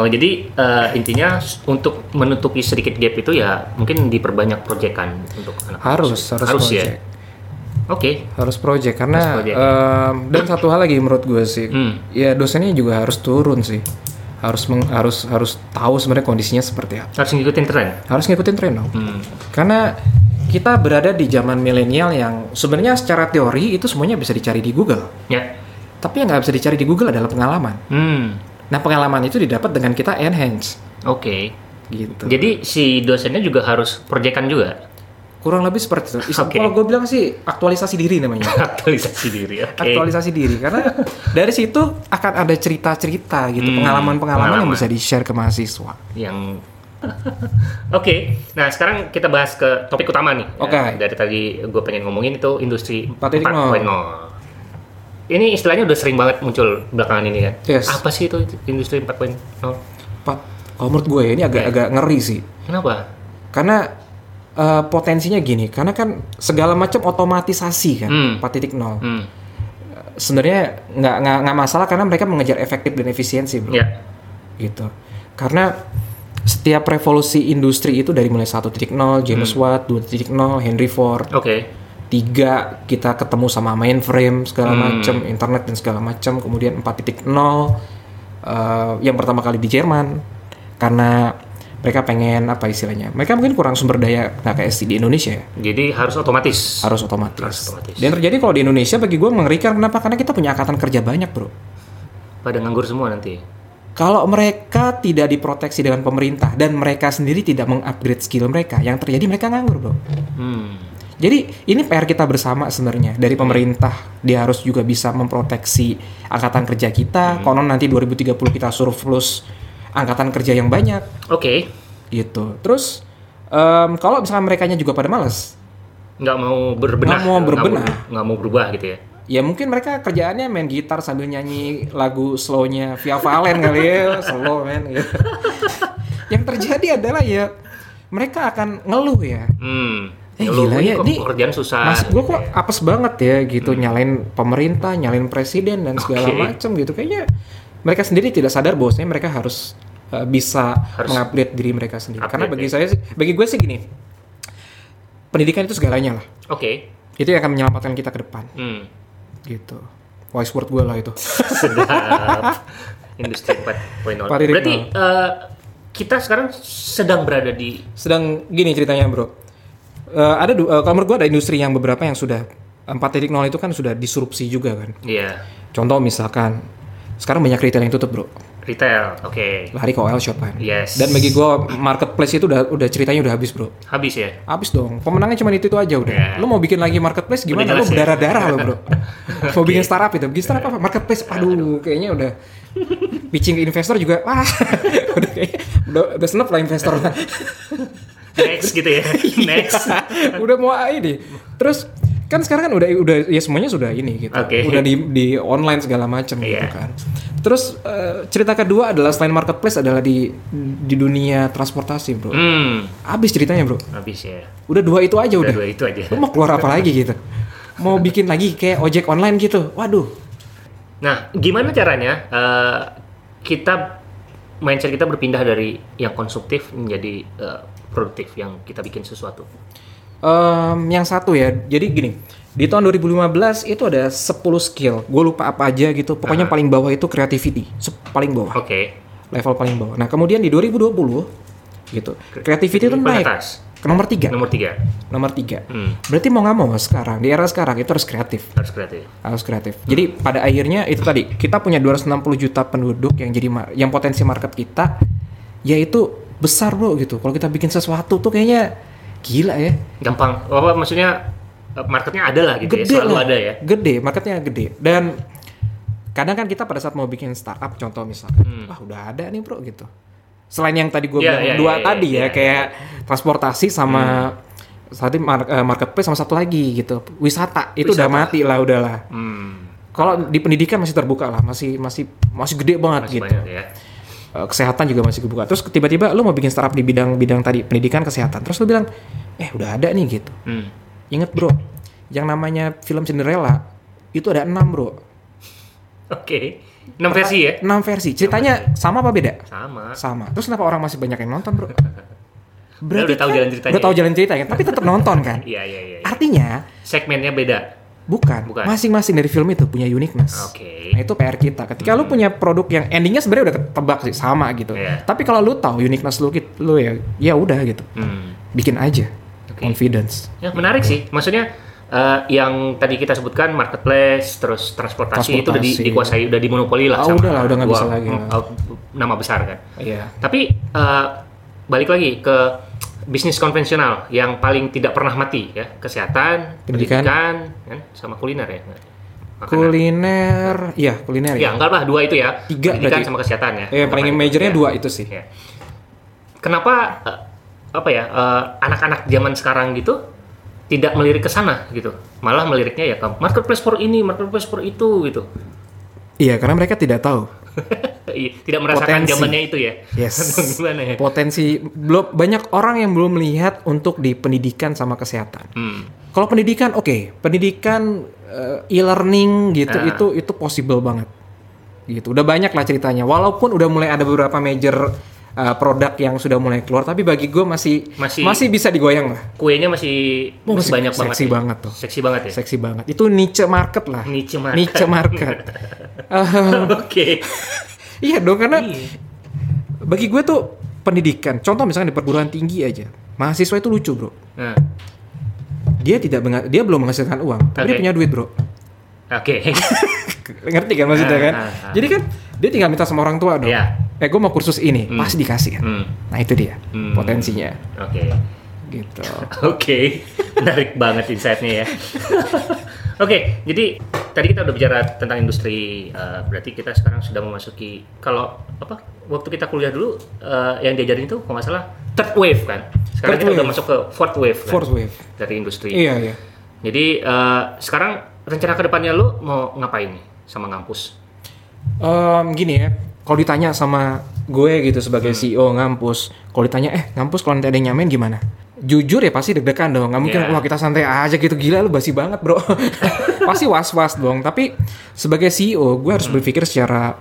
S1: Oh, jadi eh, intinya s- untuk menutupi sedikit gap itu ya mungkin diperbanyak proyekan untuk anak.
S2: Harus, harus,
S1: Harus ya.
S2: project.
S1: Oke.
S2: Harus project karena
S1: Harus project. ya?
S2: em, dan satu hal lagi menurut gue sih,
S1: Hmm.
S2: ya dosennya juga harus turun sih. Harus meng- harus harus tahu sebenarnya kondisinya seperti apa.
S1: Harus ngikutin tren.
S2: Harus ngikutin tren dong.
S1: Hmm.
S2: Karena kita berada di zaman milenial yang sebenarnya secara teori itu semuanya bisa dicari di Google.
S1: Ya.
S2: Tapi yang nggak bisa dicari di Google adalah pengalaman.
S1: Hmm.
S2: Nah pengalaman itu didapat dengan kita enhance
S1: Oke.
S2: gitu.
S1: Jadi si dosennya juga harus proyekan juga
S2: Kurang lebih seperti itu. Is-
S1: Oke.
S2: Kalau gue bilang sih aktualisasi diri namanya.
S1: aktualisasi diri. Oke.
S2: Aktualisasi diri karena dari situ akan ada cerita-cerita gitu,
S1: Hmm,
S2: pengalaman-pengalaman yang
S1: pengalaman.
S2: bisa di-share ke mahasiswa.
S1: yang oke nah sekarang kita bahas ke topik utama nih
S2: Oke.
S1: Nah, dari tadi gue pengen ngomongin itu industri
S2: 4.0.
S1: 4.0 ini istilahnya udah sering banget muncul belakangan ini kan
S2: Yes.
S1: apa sih itu industri 4.0
S2: Pat, kalau menurut gue ya, ini agak-agak ngeri sih.
S1: kenapa
S2: Karena eh, potensinya gini, karena kan segala macam otomatisasi kan
S1: Hmm.
S2: 4.0.
S1: hmm.
S2: Sebenarnya nggak nggak nggak masalah karena mereka mengejar efektif dan efisiensi. Bro.
S1: ya
S2: gitu karena setiap revolusi industri itu dari mulai 1.0, James
S1: Hmm.
S2: Watt, 2.0, Henry Ford,
S1: Oke.
S2: tiga kita ketemu sama mainframe segala
S1: Hmm.
S2: macam internet dan segala macam kemudian 4.0 eh, yang pertama kali di Jerman karena mereka pengen apa istilahnya mereka mungkin kurang sumber daya nggak kayak di Indonesia ya
S1: Jadi harus otomatis.
S2: harus otomatis.
S1: Harus otomatis.
S2: Dan terjadi kalau di Indonesia bagi gue mengerikan kenapa karena kita punya angkatan kerja banyak bro
S1: Pada nganggur semua nanti.
S2: kalau mereka tidak diproteksi dengan pemerintah dan mereka sendiri tidak mengupgrade skill mereka yang terjadi mereka nganggur bro
S1: Hmm.
S2: Jadi ini PR kita bersama sebenarnya dari pemerintah dia harus juga bisa memproteksi angkatan kerja kita. Konon nanti 2030 kita surplus angkatan kerja yang banyak
S1: Oke.
S2: gitu. Terus em, kalau misalnya mereka juga pada males,
S1: Nggak mau berbenah.
S2: Nggak mau berbenah.
S1: Nggak mau, nggak mau berubah gitu ya.
S2: ya mungkin mereka kerjaannya main gitar sambil nyanyi lagu slownya Via Valen kali ya, slow men. Gitu. yang terjadi adalah ya mereka akan ngeluh ya.
S1: Hmm.
S2: Eh,
S1: lu
S2: gila
S1: ini
S2: ya,
S1: kok
S2: ini
S1: Kerjaan susah.
S2: Mas gue kok
S1: iya.
S2: apes banget ya gitu nyalain pemerintah, nyalain presiden dan segala
S1: Hmm. Oke.
S2: macam gitu. Kayaknya mereka sendiri tidak sadar bahwasanya mereka harus uh, bisa
S1: Harus ya.
S2: mengupdate diri mereka sendiri. Karena
S1: upgrade,
S2: bagi saya sih, bagi gue sih gini, pendidikan itu segalanya lah.
S1: Oke.
S2: Itu yang akan menyelamatkan kita ke depan
S1: Hmm.
S2: gitu. Wise word gue lah itu.
S1: Sedap. Industri 4.0.
S2: Pariwisata.
S1: Berarti eh, kita sekarang sedang berada di
S2: Sedang gini ceritanya bro. Uh, ada du- uh, kalau menurut gue ada industri yang beberapa yang sudah 4.0 itu kan sudah disrupsi juga kan.
S1: ya
S2: Contoh misalkan sekarang banyak retail yang tutup bro.
S1: retail. Oke.
S2: lari ke OL shop kan.
S1: Yes.
S2: Dan bagi gue marketplace itu udah udah ceritanya udah habis bro.
S1: Habis ya.
S2: Habis dong. Pemenangnya cuma itu itu aja udah.
S1: Ya.
S2: Lo mau bikin lagi marketplace gimana?
S1: Udah
S2: Lo
S1: jelas ya.
S2: berdarah darah lo bro. Mau bikin startup itu, bikin startup apa? Marketplace. Aduh, kayaknya udah pitching ke investor juga. Wah, udah kayaknya udah, udah senep lah investor.
S1: Next gitu ya.
S2: Iya.
S1: Next.
S2: udah mau ini. Terus kan sekarang kan udah udah ya semuanya sudah ini gitu.
S1: Oke.
S2: Udah di di online segala macam gitu
S1: Iya.
S2: kan. Terus eh, cerita kedua adalah selain marketplace adalah di di dunia transportasi, Bro.
S1: Hmm.
S2: Abis ceritanya bro.
S1: Habis ya.
S2: Udah dua itu aja
S1: Udah
S2: udah.
S1: dua itu aja.
S2: Lu mau keluar apa lagi gitu? Mau bikin lagi kayak ojek online gitu? Waduh.
S1: Nah, gimana caranya eh, kita mindset kita berpindah dari yang konsumtif menjadi eh, produktif yang kita bikin sesuatu.
S2: Em, yang satu ya. Jadi gini. Di tahun 2015 itu ada 10 skill. Gue lupa apa aja gitu.
S1: Ah.
S2: Pokoknya paling bawah itu creativity. Se- Paling bawah.
S1: Oke.
S2: Level paling bawah. Nah kemudian di 2020 gitu. Creativity itu
S1: Jadi
S2: naik.
S1: atas.
S2: Ke nomor 3.
S1: Nomor tiga.
S2: Nomor 3.
S1: Hmm.
S2: Berarti mau nggak mau sekarang. Di era sekarang itu harus kreatif.
S1: Harus kreatif.
S2: harus kreatif. Jadi
S1: Hmm.
S2: pada akhirnya itu tadi kita punya 260 juta penduduk yang jadi mar- yang potensi market kita yaitu besar bro gitu. Kalau kita bikin sesuatu tuh kayaknya gila ya.
S1: Gampang. Oh, apa maksudnya eh, marketnya ada lah gitu ya.
S2: Gede
S1: Selalu
S2: lah.
S1: ada ya.
S2: Gede, marketnya gede. Dan kadang kan kita pada saat mau bikin startup contoh misalkan, wah udah ada nih bro gitu. Selain yang tadi gue
S1: Hmm. Iya,
S2: bilang
S1: iya,
S2: dua
S1: iya, iya,
S2: tadi ya
S1: iya. Hmm.
S2: kayak transportasi sama tadi mar- eh, marketplace sama satu lagi gitu. Wisata itu udah mati lah udahlah.
S1: Hmm.
S2: Kalau di pendidikan masih terbuka lah, masih masih masih gede banget
S1: Masih
S2: gitu.
S1: banyak ya.
S2: Eh, Kesehatan juga masih terbuka. Terus tiba-tiba lu mau bikin startup di bidang-bidang tadi pendidikan kesehatan. Terus lu bilang, eh udah ada nih gitu.
S1: Hmm.
S2: Ingat bro, yang namanya film Cinderella itu ada 6 bro,
S1: Oke. Enam versi ya.
S2: 6 versi. Ceritanya sama apa beda?
S1: Sama.
S2: Sama. Terus kenapa orang masih banyak yang nonton bro?
S1: udah Ya tahu
S2: kan-
S1: jalan ceritanya
S2: Udah tahu
S1: ya?
S2: jalan cerita kan, tapi tetap nonton kan.
S1: Iya, iya, iya. iya.
S2: Artinya
S1: Segmennya beda.
S2: bukan,
S1: Bukan.
S2: masing-masing dari film itu punya uniqueness. Nah
S1: Oke. Hmm.
S2: itu PR kita. Ketika lu punya produk yang endingnya sebenarnya udah ketebak sih sama gitu.
S1: Iya.
S2: Tapi kalau lu tahu uniqueness lu, git- lu ya ya udah gitu.
S1: Hmm.
S2: Bikin aja.
S1: Oke.
S2: Confidence.
S1: Ya, menarik sih. Maksudnya eh, yang tadi kita sebutkan marketplace, terus transportasi, itu udah di-
S2: Transportasi.
S1: dikuasai, udah dimonopoli lah.
S2: Ah, udah lah, udah nggak bisa lagi.
S1: mm, eh, Nama besar kan.
S2: Iya.
S1: Tapi eh, balik lagi ke bisnis konvensional yang paling tidak pernah mati ya, kesehatan,
S2: Pendidikan.
S1: pendidikan, kan, sama kuliner ya. Makanan.
S2: Kuliner, iya kuliner
S1: Ya,
S2: ya.
S1: enggak lah dua itu ya.
S2: Tiga
S1: pendidikan
S2: berarti.
S1: sama kesehatan ya.
S2: Eh, yang paling
S1: Apa-
S2: majornya
S1: ya.
S2: dua itu sih.
S1: Ya. Kenapa eh, apa ya eh, anak-anak zaman sekarang gitu tidak melirik ke sana gitu, malah meliriknya ya ke marketplace for ini, marketplace for itu gitu.
S2: Iya, karena mereka tidak tahu.
S1: Iya, tidak merasakan
S2: Potensi.
S1: zamannya itu ya.
S2: Yes.
S1: Atau Gimana ya?
S2: Potensi belum banyak orang yang belum melihat untuk di pendidikan sama kesehatan.
S1: Hmm,
S2: Kalau pendidikan, oke, pendidikan eh, e-learning gitu
S1: Ah.
S2: itu itu possible banget, gitu. Udah banyak lah ceritanya. Walaupun udah mulai ada beberapa major uh, produk yang sudah mulai keluar tapi bagi gue masih,
S1: Masih-
S2: masih bisa digoyang lah
S1: Kuenya masih,
S2: Oh,
S1: masih
S2: masih
S1: banyak banget.
S2: seksi
S1: ya.
S2: banget tuh.
S1: Seksi banget ya.
S2: seksi banget itu niche market lah
S1: Niche market.
S2: niche market Eh,
S1: Oke.
S2: iya dong karena
S1: Iya.
S2: bagi gue tuh pendidikan contoh misalnya di perguruan tinggi aja mahasiswa itu lucu bro
S1: Nah,
S2: dia tidak menga- dia belum menghasilkan uang tapi dia
S1: Oke.
S2: punya duit bro
S1: Oke.
S2: ngerti kan maksudnya
S1: Ah,
S2: kan
S1: ah, ah.
S2: jadi kan dia tinggal minta sama orang tua dong
S1: Iya.
S2: eh gue mau kursus ini
S1: Hmm.
S2: pasti dikasih kan
S1: Hmm,
S2: nah itu dia
S1: Hmm.
S2: potensinya
S1: Oke.
S2: gitu
S1: Oke, menarik banget insight-nya ya. Oke, jadi tadi kita udah bicara tentang industri, eh, berarti kita sekarang sudah memasuki kalau apa? Waktu kita kuliah dulu eh, yang diajarin itu kalau nggak salah third wave kan. Sekarang
S2: Third
S1: kita udah
S2: wave.
S1: masuk ke fourth wave kan,
S2: fourth wave
S1: dari industri.
S2: iya iya
S1: Jadi eh, sekarang rencana kedepannya lu mau ngapain nih sama ngampus?
S2: Em, gini ya kalau ditanya sama gue gitu sebagai CEO ngampus kalau ditanya eh ngampus kalau nanti ada yang nyamain gimana jujur ya pasti deg-degan dong nggak mungkin
S1: Iya.
S2: wah kita santai aja gitu gila lu basi banget bro pasti was-was dong tapi sebagai CEO gue harus berpikir secara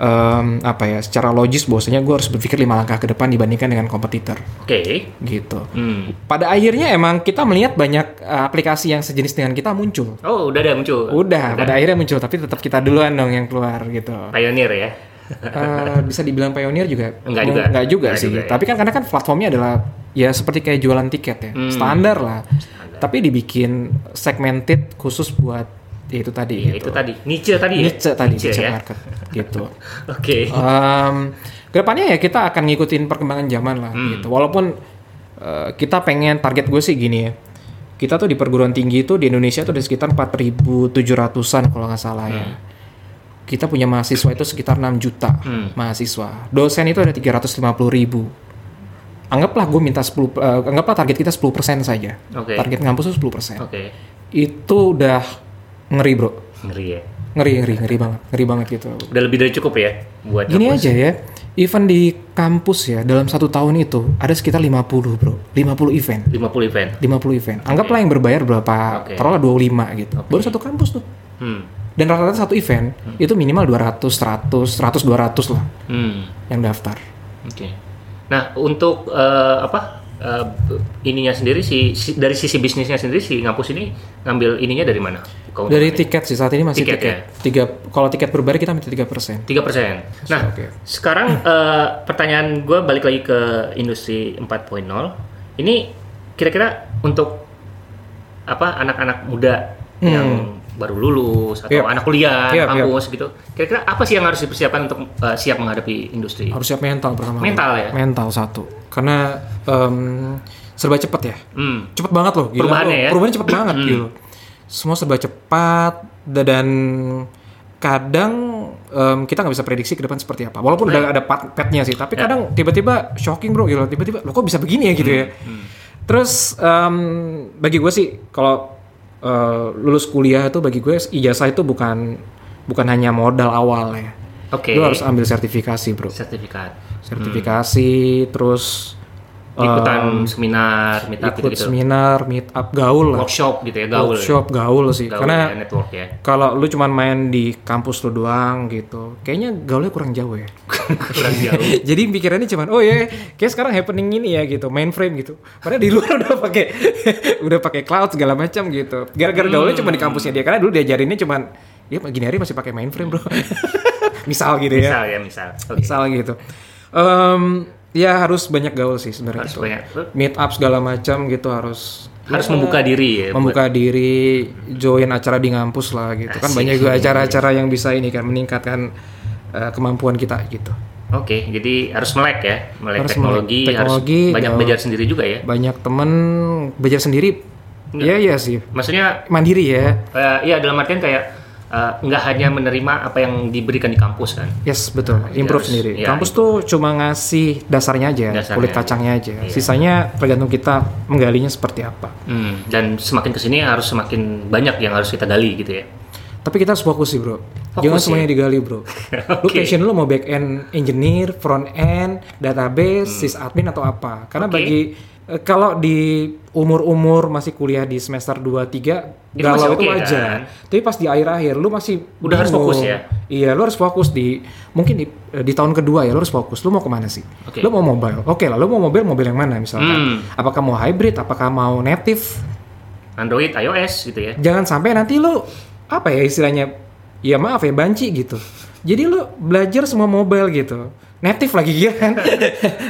S2: em, apa ya secara logis bahwasanya gue harus berpikir lima langkah ke depan dibandingkan dengan kompetitor
S1: Oke.
S2: gitu
S1: Hmm.
S2: pada akhirnya emang kita melihat banyak eh, aplikasi yang sejenis dengan kita muncul
S1: Oh, udah ada yang muncul.
S2: udah pada akhirnya muncul tapi tetap kita duluan dong yang keluar gitu
S1: Pioneer ya.
S2: Eh, bisa dibilang pioneer juga
S1: Enggak juga.
S2: enggak juga
S1: Enggak
S2: sih
S1: juga ya.
S2: tapi kan karena kan platformnya adalah ya seperti kayak jualan tiket ya
S1: Hmm.
S2: standar lah tapi dibikin segmented khusus buat ya itu tadi
S1: Iya,
S2: gitu
S1: itu tadi. Niche tadi ya.
S2: niche tadi niche
S1: ya.
S2: market gitu
S1: Oke.
S2: Em, kedepannya ya kita akan ngikutin perkembangan zaman lah
S1: Hmm.
S2: gitu walaupun eh, kita pengen target gue sih gini ya kita tuh di perguruan tinggi itu di Indonesia tuh ada sekitar 4.700an kalau nggak salah ya kita punya mahasiswa itu sekitar 6 juta
S1: Hmm.
S2: mahasiswa dosen itu ada 350 ribu anggaplah gue minta 10 eh, anggaplah target kita 10% saja
S1: Oke.
S2: target ngampus itu 10%
S1: Oke.
S2: itu udah ngeri bro
S1: Ngeri ya.
S2: ngeri ngeri ngeri banget ngeri banget gitu
S1: Udah lebih dari cukup ya buat
S2: Gini
S1: kampus.
S2: aja ya, event di kampus ya dalam satu tahun itu ada sekitar 50 bro, 50 event,
S1: 50 event.
S2: 50 event. Anggaplah yang berbayar berapa,
S1: Oke.
S2: taruhlah 25 gitu. Baru satu kampus tuh.
S1: Hmm.
S2: Dan rata-rata satu event itu minimal 200, 100, 100, 200 lah
S1: Hmm.
S2: yang daftar.
S1: Oke. Nah, untuk eh, apa? eh, ininya sendiri si, si- dari sisi bisnisnya sendiri si ngampus ini ngambil ininya dari mana?
S2: Dari tiket sih saat ini masih
S1: Oh, Tiket ya?
S2: tiket. Tiga, kalau tiket berbayar kita minta 3 persen.
S1: tiga persen. Nah,
S2: Oke.
S1: sekarang eh, pertanyaan gue balik lagi ke industri 4.0. Ini kira-kira untuk apa anak-anak muda
S2: Hmm.
S1: yang baru lulus atau
S2: Yap.
S1: anak kuliah
S2: Yap,
S1: kampus gitu. Kira-kira apa sih yang harus dipersiapkan untuk eh, siap menghadapi industri?
S2: Harus siap mental pertama.
S1: Mental ya?
S2: Oh, Mental satu. Karena em, serba cepet ya.
S1: Hmm.
S2: cepet banget loh gila
S1: Perubahannya
S2: loh.
S1: ya?
S2: perubahannya cepet banget gitu semua serba cepat da- dan kadang em, kita nggak bisa prediksi ke depan seperti apa walaupun udah
S1: Nah.
S2: ada pat- petnya sih
S1: Ya.
S2: tapi kadang tiba-tiba shocking bro gitu tiba-tiba lo kok bisa begini ya gitu ya
S1: Hmm.
S2: terus em, bagi gue sih kalau eh, lulus kuliah itu bagi gue ijazah itu bukan bukan hanya modal awal ya
S1: Oke. Hmm.
S2: lo harus ambil sertifikasi bro
S1: Sertifikat.
S2: sertifikasi terus e,
S1: Ikutan seminar, meetup
S2: ikut
S1: gitu,
S2: seminar meet up gaul lah
S1: workshop gitu ya, gaul.
S2: workshop gaul sih
S1: Gaul
S2: karena
S1: ya, network ya.
S2: kalau lu cuman main di kampus lu doang gitu kayaknya gaulnya kurang jauh ya
S1: Kurang jauh.
S2: jadi pikirannya cuman oh ya kayak sekarang happening ini ya gitu mainframe gitu padahal di luar udah pakai udah pakai cloud segala macam gitu gara-gara
S1: Hmm.
S2: gaulnya cuma di kampusnya dia karena dulu diajarinnya cuman ya gini hari masih pakai mainframe bro misal gitu ya
S1: Misal ya, misal. Oke.
S2: misal gitu Em, ya harus banyak gaul sih sebenarnya
S1: Harus
S2: gitu.
S1: banyak.
S2: meet up segala macam gitu harus
S1: Harus membuka diri ya. buat-
S2: membuka diri join acara di ngampus lah gitu kan
S1: Asik.
S2: banyak juga acara-acara yang bisa ini kan meningkatkan eh, kemampuan kita gitu
S1: Oke, jadi harus melek ya, melek
S2: Harus
S1: teknologi,
S2: melek teknologi,
S1: harus banyak
S2: gaul.
S1: belajar sendiri juga ya.
S2: banyak temen belajar sendiri ya ya sih
S1: Maksudnya,
S2: mandiri ya
S1: eh, ya dalam artian kayak eh, nggak hanya menerima apa yang diberikan di kampus kan.
S2: yes betul improve
S1: harus-
S2: sendiri
S1: ya,
S2: kampus tuh cuma ngasih dasarnya aja
S1: Dasarnya.
S2: kulit kacangnya aja
S1: Iya.
S2: sisanya tergantung kita menggalinya seperti apa
S1: Hmm, dan semakin kesini harus semakin banyak yang harus kita gali gitu ya.
S2: tapi kita harus fokus sih bro
S1: Fokus
S2: jangan
S1: ya?
S2: semuanya digali bro lu
S1: Oke.
S2: passion lu mau back end engineer front end database sysadmin atau apa karena
S1: Hmm. Oke.
S2: bagi eh, eh, kalau di umur-umur masih kuliah di semester 2 3
S1: Itu
S2: galau
S1: masih
S2: itu
S1: oke,
S2: wajar.
S1: kan?
S2: Tapi pas di akhir-akhir lu masih
S1: Udah harus
S2: bingung.
S1: fokus ya?
S2: Iya, lu harus fokus di mungkin di, eh, di tahun kedua ya lu harus fokus. Lu mau kemana sih?
S1: Oke.
S2: Lu mau mobile. Oke lah, lu mau mobile mobil yang mana misalkan?
S1: Hmm.
S2: Apakah mau hybrid, apakah mau native?
S1: Android, iOS gitu ya.
S2: Jangan sampai nanti lu apa ya istilahnya? Ya maaf ya banci gitu. Jadi lu belajar semua mobile gitu. Native lagi ya kan.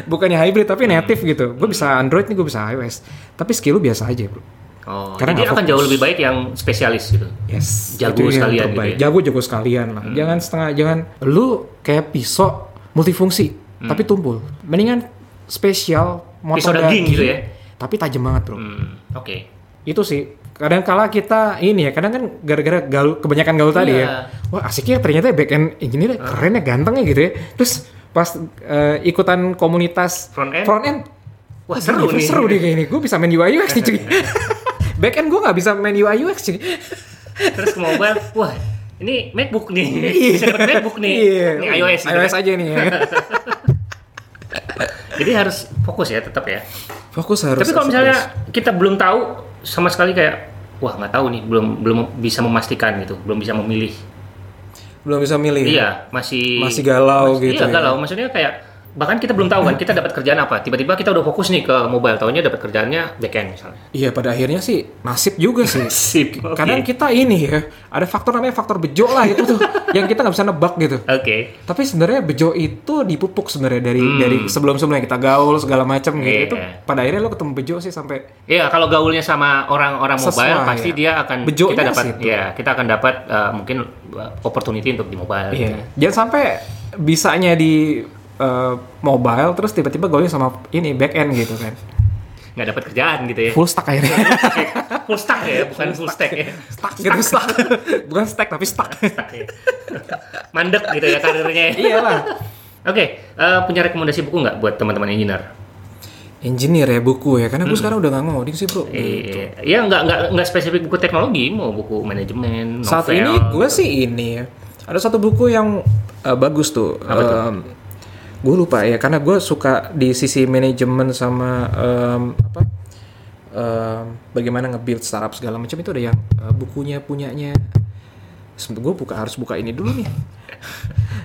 S2: Bukannya hybrid tapi
S1: Hmm.
S2: native gitu. Gue bisa Android nih, gue bisa iOS. Tapi skill lu biasa aja, Bro.
S1: Oh,
S2: Karena
S1: jadi
S2: nggak
S1: akan
S2: fokus.
S1: jauh lebih baik yang spesialis gitu.
S2: Yes.
S1: Jago
S2: itu yang
S1: sekalian
S2: terbaik.
S1: gitu ya. Hmm.
S2: Jago-jago sekalian lah. Jangan setengah, jangan lu kayak pisau multifungsi tapi tumpul. Mendingan spesial
S1: Hmm.
S2: motor
S1: Pisau daging gitu ya?
S2: Tapi tajam banget, Bro.
S1: Hmm, oke.
S2: Itu sih kadang kala kita ini ya kadang kan gara-gara gaul, kebanyakan gaul tadi
S1: Iya. Ah.
S2: ya wah asiknya ternyata back end engineer keren ya ganteng ya gitu ya terus pas eh, ikutan komunitas
S1: Front end?
S2: front end
S1: Wah, seru
S2: gini,
S1: nih. Iya.
S2: seru deh kayak ini gue bisa main UI UX nih cuy back end gue nggak bisa main UI UX cuy
S1: Terus ke mobile, wah ini MacBook nih, bisa dapat MacBook nih,
S2: Iya.
S1: ini iOS. gitu
S2: iOS
S1: kan.
S2: aja nih ya.
S1: Jadi harus fokus ya tetap ya.
S2: Fokus harus.
S1: Tapi kalau
S2: harus
S1: misalnya
S2: fokus.
S1: kita belum tahu sama sekali kayak wah nggak tahu nih belum belum bisa memastikan gitu belum bisa memilih
S2: belum bisa milih. ya.
S1: iya masih
S2: Masih galau gitu
S1: iya
S2: ya.
S1: galau maksudnya kayak bahkan kita belum tahu kan kita dapat kerjaan apa tiba-tiba kita udah fokus nih ke mobile tahunya dapat kerjaannya backend misalnya
S2: Iya, pada akhirnya sih nasib juga sih.
S1: sip oke
S2: Kadang kita ini ya, ada faktor namanya faktor bejo lah itu tuh yang kita nggak bisa nebak gitu.
S1: oke
S2: Tapi sebenarnya bejo itu dipupuk sebenarnya dari dari sebelum-sebelumnya kita gaul segala macam gitu.
S1: Hmm. Iya.
S2: Itu pada akhirnya lo ketemu bejo sih sampai
S1: Iya, kalau gaulnya sama orang-orang mobile
S2: Sesuai,
S1: pasti
S2: ya.
S1: dia akan
S2: Bejoknya
S1: kita dapat
S2: situ.
S1: ya, kita akan dapat uh, mungkin uh, opportunity untuk di mobile. gitu.
S2: Iya. Jangan sampai bisanya di eh, mobile terus tiba-tiba gaulnya sama ini back end gitu kan.
S1: Nggak dapat kerjaan gitu ya.
S2: Full stack akhirnya.
S1: full stack ya, bukan full stack ya.
S2: stuck gitu stuck bukan stack tapi stuck
S1: Stuck ya. Mandek gitu ya karirnya. ya.
S2: iyalah
S1: Oke, eh, punya rekomendasi buku nggak buat teman-teman engineer?
S2: engineer ya buku ya
S1: Hmm.
S2: karena gue sekarang udah nggak ngoding sih bro
S1: Eh, ya nggak nggak nggak spesifik buku teknologi, mau buku manajemen, novel.
S2: saat ini gue sih ini ya ada satu buku yang eh, bagus tuh, gue lupa ya karena gue suka di sisi manajemen sama em, apa em, bagaimana nge-build startup segala macam itu ada yang eh, bukunya punyanya gue buka harus buka ini dulu nih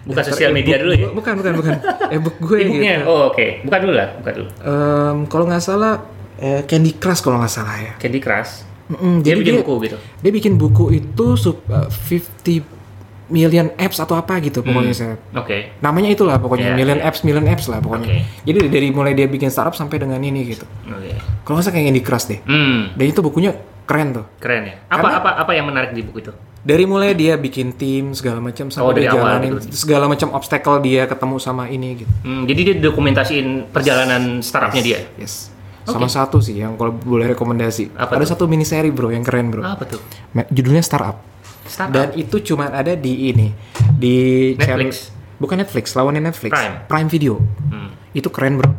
S1: bukan
S2: Daftar
S1: sosial media
S2: e-book
S1: dulu ya.
S2: gua- bukan bukan bukan e-book gue gitu
S1: Ibunya, oh oke, bukan dulu lah, bukan dulu.
S2: Em, kalau nggak salah eh, Candy Crush kalau nggak salah ya.
S1: Candy Crush,
S2: Mm-mm,
S1: dia
S2: jadi
S1: bikin buku gitu.
S2: dia bikin buku itu sub eh, 50 million apps atau apa gitu
S1: Hmm.
S2: pokoknya saya.
S1: Oke,
S2: Namanya itulah pokoknya
S1: Iya,
S2: million apps million apps lah pokoknya.
S1: Oke.
S2: Jadi dari mulai dia bikin startup sampai dengan ini gitu.
S1: oke.
S2: Kalau nggak salah kayak Candy Crush deh.
S1: Hmm,
S2: Dan itu bukunya keren tuh.
S1: keren ya. Apa
S2: Karena-
S1: apa apa yang menarik di buku itu?
S2: Dari mulai dia bikin tim segala macam sampai
S1: Oh, dari
S2: dia
S1: awal
S2: jalanin segala macam obstacle dia ketemu sama ini gitu.
S1: Hmm, jadi dia dokumentasiin perjalanan startupnya dia.
S2: Yes. Sama satu sih yang kalau boleh rekomendasi.
S1: Apa
S2: ada
S1: tuh?
S2: satu mini seri bro yang keren bro.
S1: Apa tuh?
S2: Me- Judulnya Startup.
S1: Startup.
S2: Dan itu cuma ada di ini di
S1: Ah, Netflix.
S2: channel- bukan Netflix, lawannya Netflix.
S1: Prime.
S2: Video.
S1: Hmm,
S2: Itu keren bro.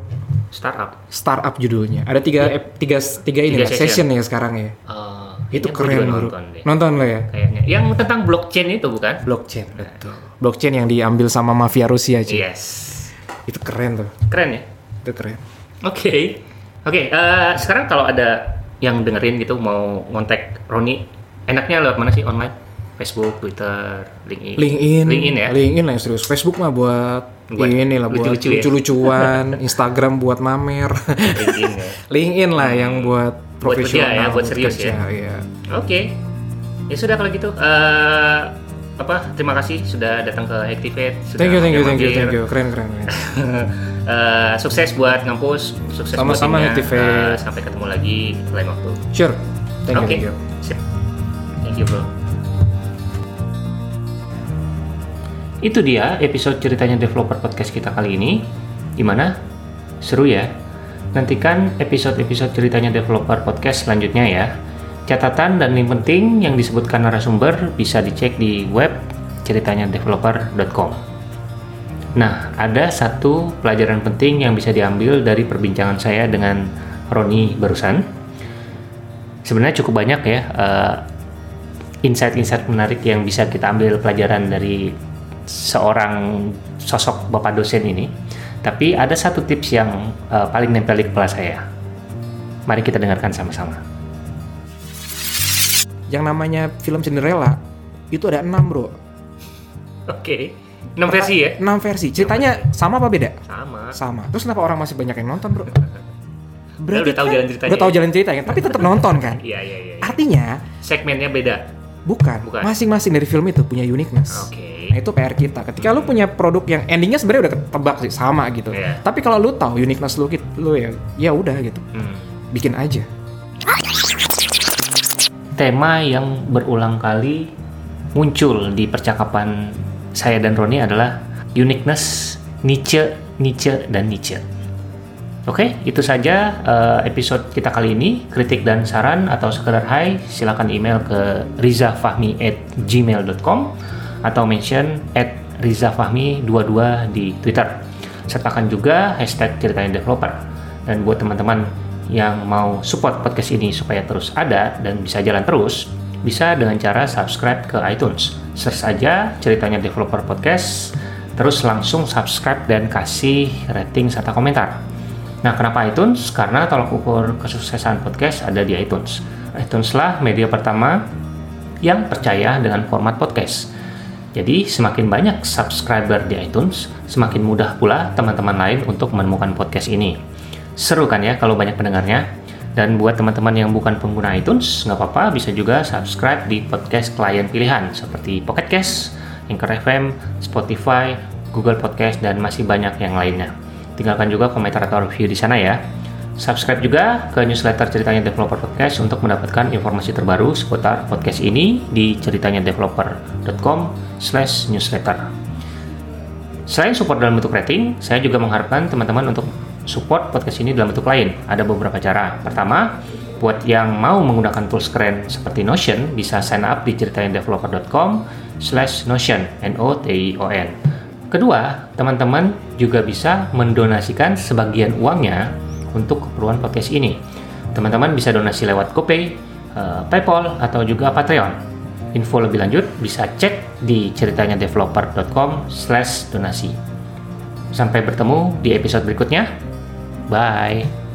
S1: startup.
S2: Startup judulnya. Ada tiga ep- tiga tiga ini
S1: Iya. Tiga
S2: lah,
S1: session.
S2: session. ya sekarang ya.
S1: Eh, kayaknya
S2: Itu
S1: gua
S2: keren
S1: juga
S2: bro.
S1: nonton deh.
S2: Nonton lo ya.
S1: Kayaknya. Yang tentang blockchain itu bukan?
S2: Blockchain.
S1: Iya.
S2: Betul. Blockchain yang diambil sama mafia Rusia cuy.
S1: Yes.
S2: Itu keren tuh.
S1: Keren ya.
S2: Itu keren.
S1: Oke. Oke, eh, sekarang kalau ada yang dengerin gitu mau ngontak Roni, enaknya lewat mana sih online? Facebook, Twitter, LinkedIn.
S2: LinkedIn,
S1: LinkedIn ya.
S2: LinkedIn lah yang serius. Facebook mah buat,
S1: Buat
S2: ini lah buat
S1: lucu-lucu ya.
S2: lucu-lucuan, Instagram buat mamer.
S1: LinkedIn ya.
S2: LinkedIn lah yang buat
S1: Hmm. Buat kerja ya,
S2: profesional,
S1: buat serius ya.
S2: iya.
S1: Oke. Ya sudah kalau gitu eh apa terima kasih sudah datang ke Activate sudah
S2: Thank you, thank you, thank you,
S1: mampir.
S2: thank you. Keren, keren. keren.
S1: Eh, sukses buat ngampus, sukses
S2: Sama-sama,
S1: buat timnya.
S2: Activate.
S1: Eh, sampai ketemu lagi lain waktu.
S2: Sure.
S1: Oke.
S2: Thank you, thank you.
S1: Sip. Thank you, bro. Itu dia episode ceritanya developer podcast kita kali ini. Gimana? Seru ya? Nantikan episode-episode ceritanya developer podcast selanjutnya ya. Catatan dan link penting yang disebutkan narasumber bisa dicek di web ceritanyadeveloper.com. Nah, ada satu pelajaran penting yang bisa diambil dari perbincangan saya dengan Roni barusan. Sebenarnya cukup banyak ya eh, insight-insight menarik yang bisa kita ambil pelajaran dari seorang sosok bapak dosen ini. Tapi ada satu tips yang eh, paling nempel di kepala saya. Mari kita dengarkan sama-sama.
S3: Yang namanya film Cinderella itu ada enam bro.
S1: Oke, enam versi ya?
S3: Enam versi. Ceritanya sama apa beda?
S1: Sama.
S3: Sama. Terus kenapa orang masih banyak yang nonton bro? kan
S1: udah tahu jalan ceritanya
S3: Udah tahu
S1: ya?
S3: jalan ceritanya, tapi tetap nonton kan.
S1: Iya, iya, iya.
S3: Artinya
S1: Segmennya beda.
S3: bukan.
S1: Bukan.
S3: Masing-masing dari film itu punya uniqueness.
S1: Oke.
S3: Nah itu PR kita. Ketika lu punya produk yang endingnya sebenarnya udah ketebak sih sama gitu.
S1: Iya.
S3: Tapi kalau lu tahu uniqueness lu, gitu, lu ya ya udah gitu,
S1: Hmm.
S3: bikin aja.
S1: Tema yang berulang kali muncul di percakapan saya dan Roni adalah uniqueness, niche, niche, dan niche. Oke, itu saja eh, episode kita kali ini. Kritik dan saran atau sekedar hai, silakan email ke rizafahmi@gmail.com atau mention at rizafahmi22 di Twitter. Sertakan juga hashtag ceritanya developer. Dan buat teman-teman yang mau support podcast ini supaya terus ada dan bisa jalan terus, bisa dengan cara subscribe ke iTunes. Search saja ceritanya developer podcast, terus langsung subscribe dan kasih rating serta komentar. Nah, kenapa iTunes? Karena tolak ukur kesuksesan podcast ada di iTunes. iTunes lah media pertama yang percaya dengan format podcast. Jadi, semakin banyak subscriber di iTunes, semakin mudah pula teman-teman lain untuk menemukan podcast ini. Seru kan ya kalau banyak pendengarnya? Dan buat teman-teman yang bukan pengguna iTunes, nggak apa-apa, bisa juga subscribe di podcast klien pilihan seperti Pocket Cast, Anchor FM, Spotify, Google Podcast, dan masih banyak yang lainnya tinggalkan juga komentar atau review di sana ya. Subscribe juga ke newsletter Ceritanya Developer Podcast untuk mendapatkan informasi terbaru seputar podcast ini di ceritanyadeveloper.com newsletter. Selain support dalam bentuk rating, saya juga mengharapkan teman-teman untuk support podcast ini dalam bentuk lain. Ada beberapa cara. Pertama, buat yang mau menggunakan tools keren seperti Notion, bisa sign up di ceritanyadeveloper.com slash Notion, N-O-T-I-O-N. Kedua, teman-teman juga bisa mendonasikan sebagian uangnya untuk keperluan podcast ini. Teman-teman bisa donasi lewat GoPay, eh, Paypal, atau juga Patreon. Info lebih lanjut bisa cek di ceritanyadeveloper.com slash donasi. Sampai bertemu di episode berikutnya. Bye!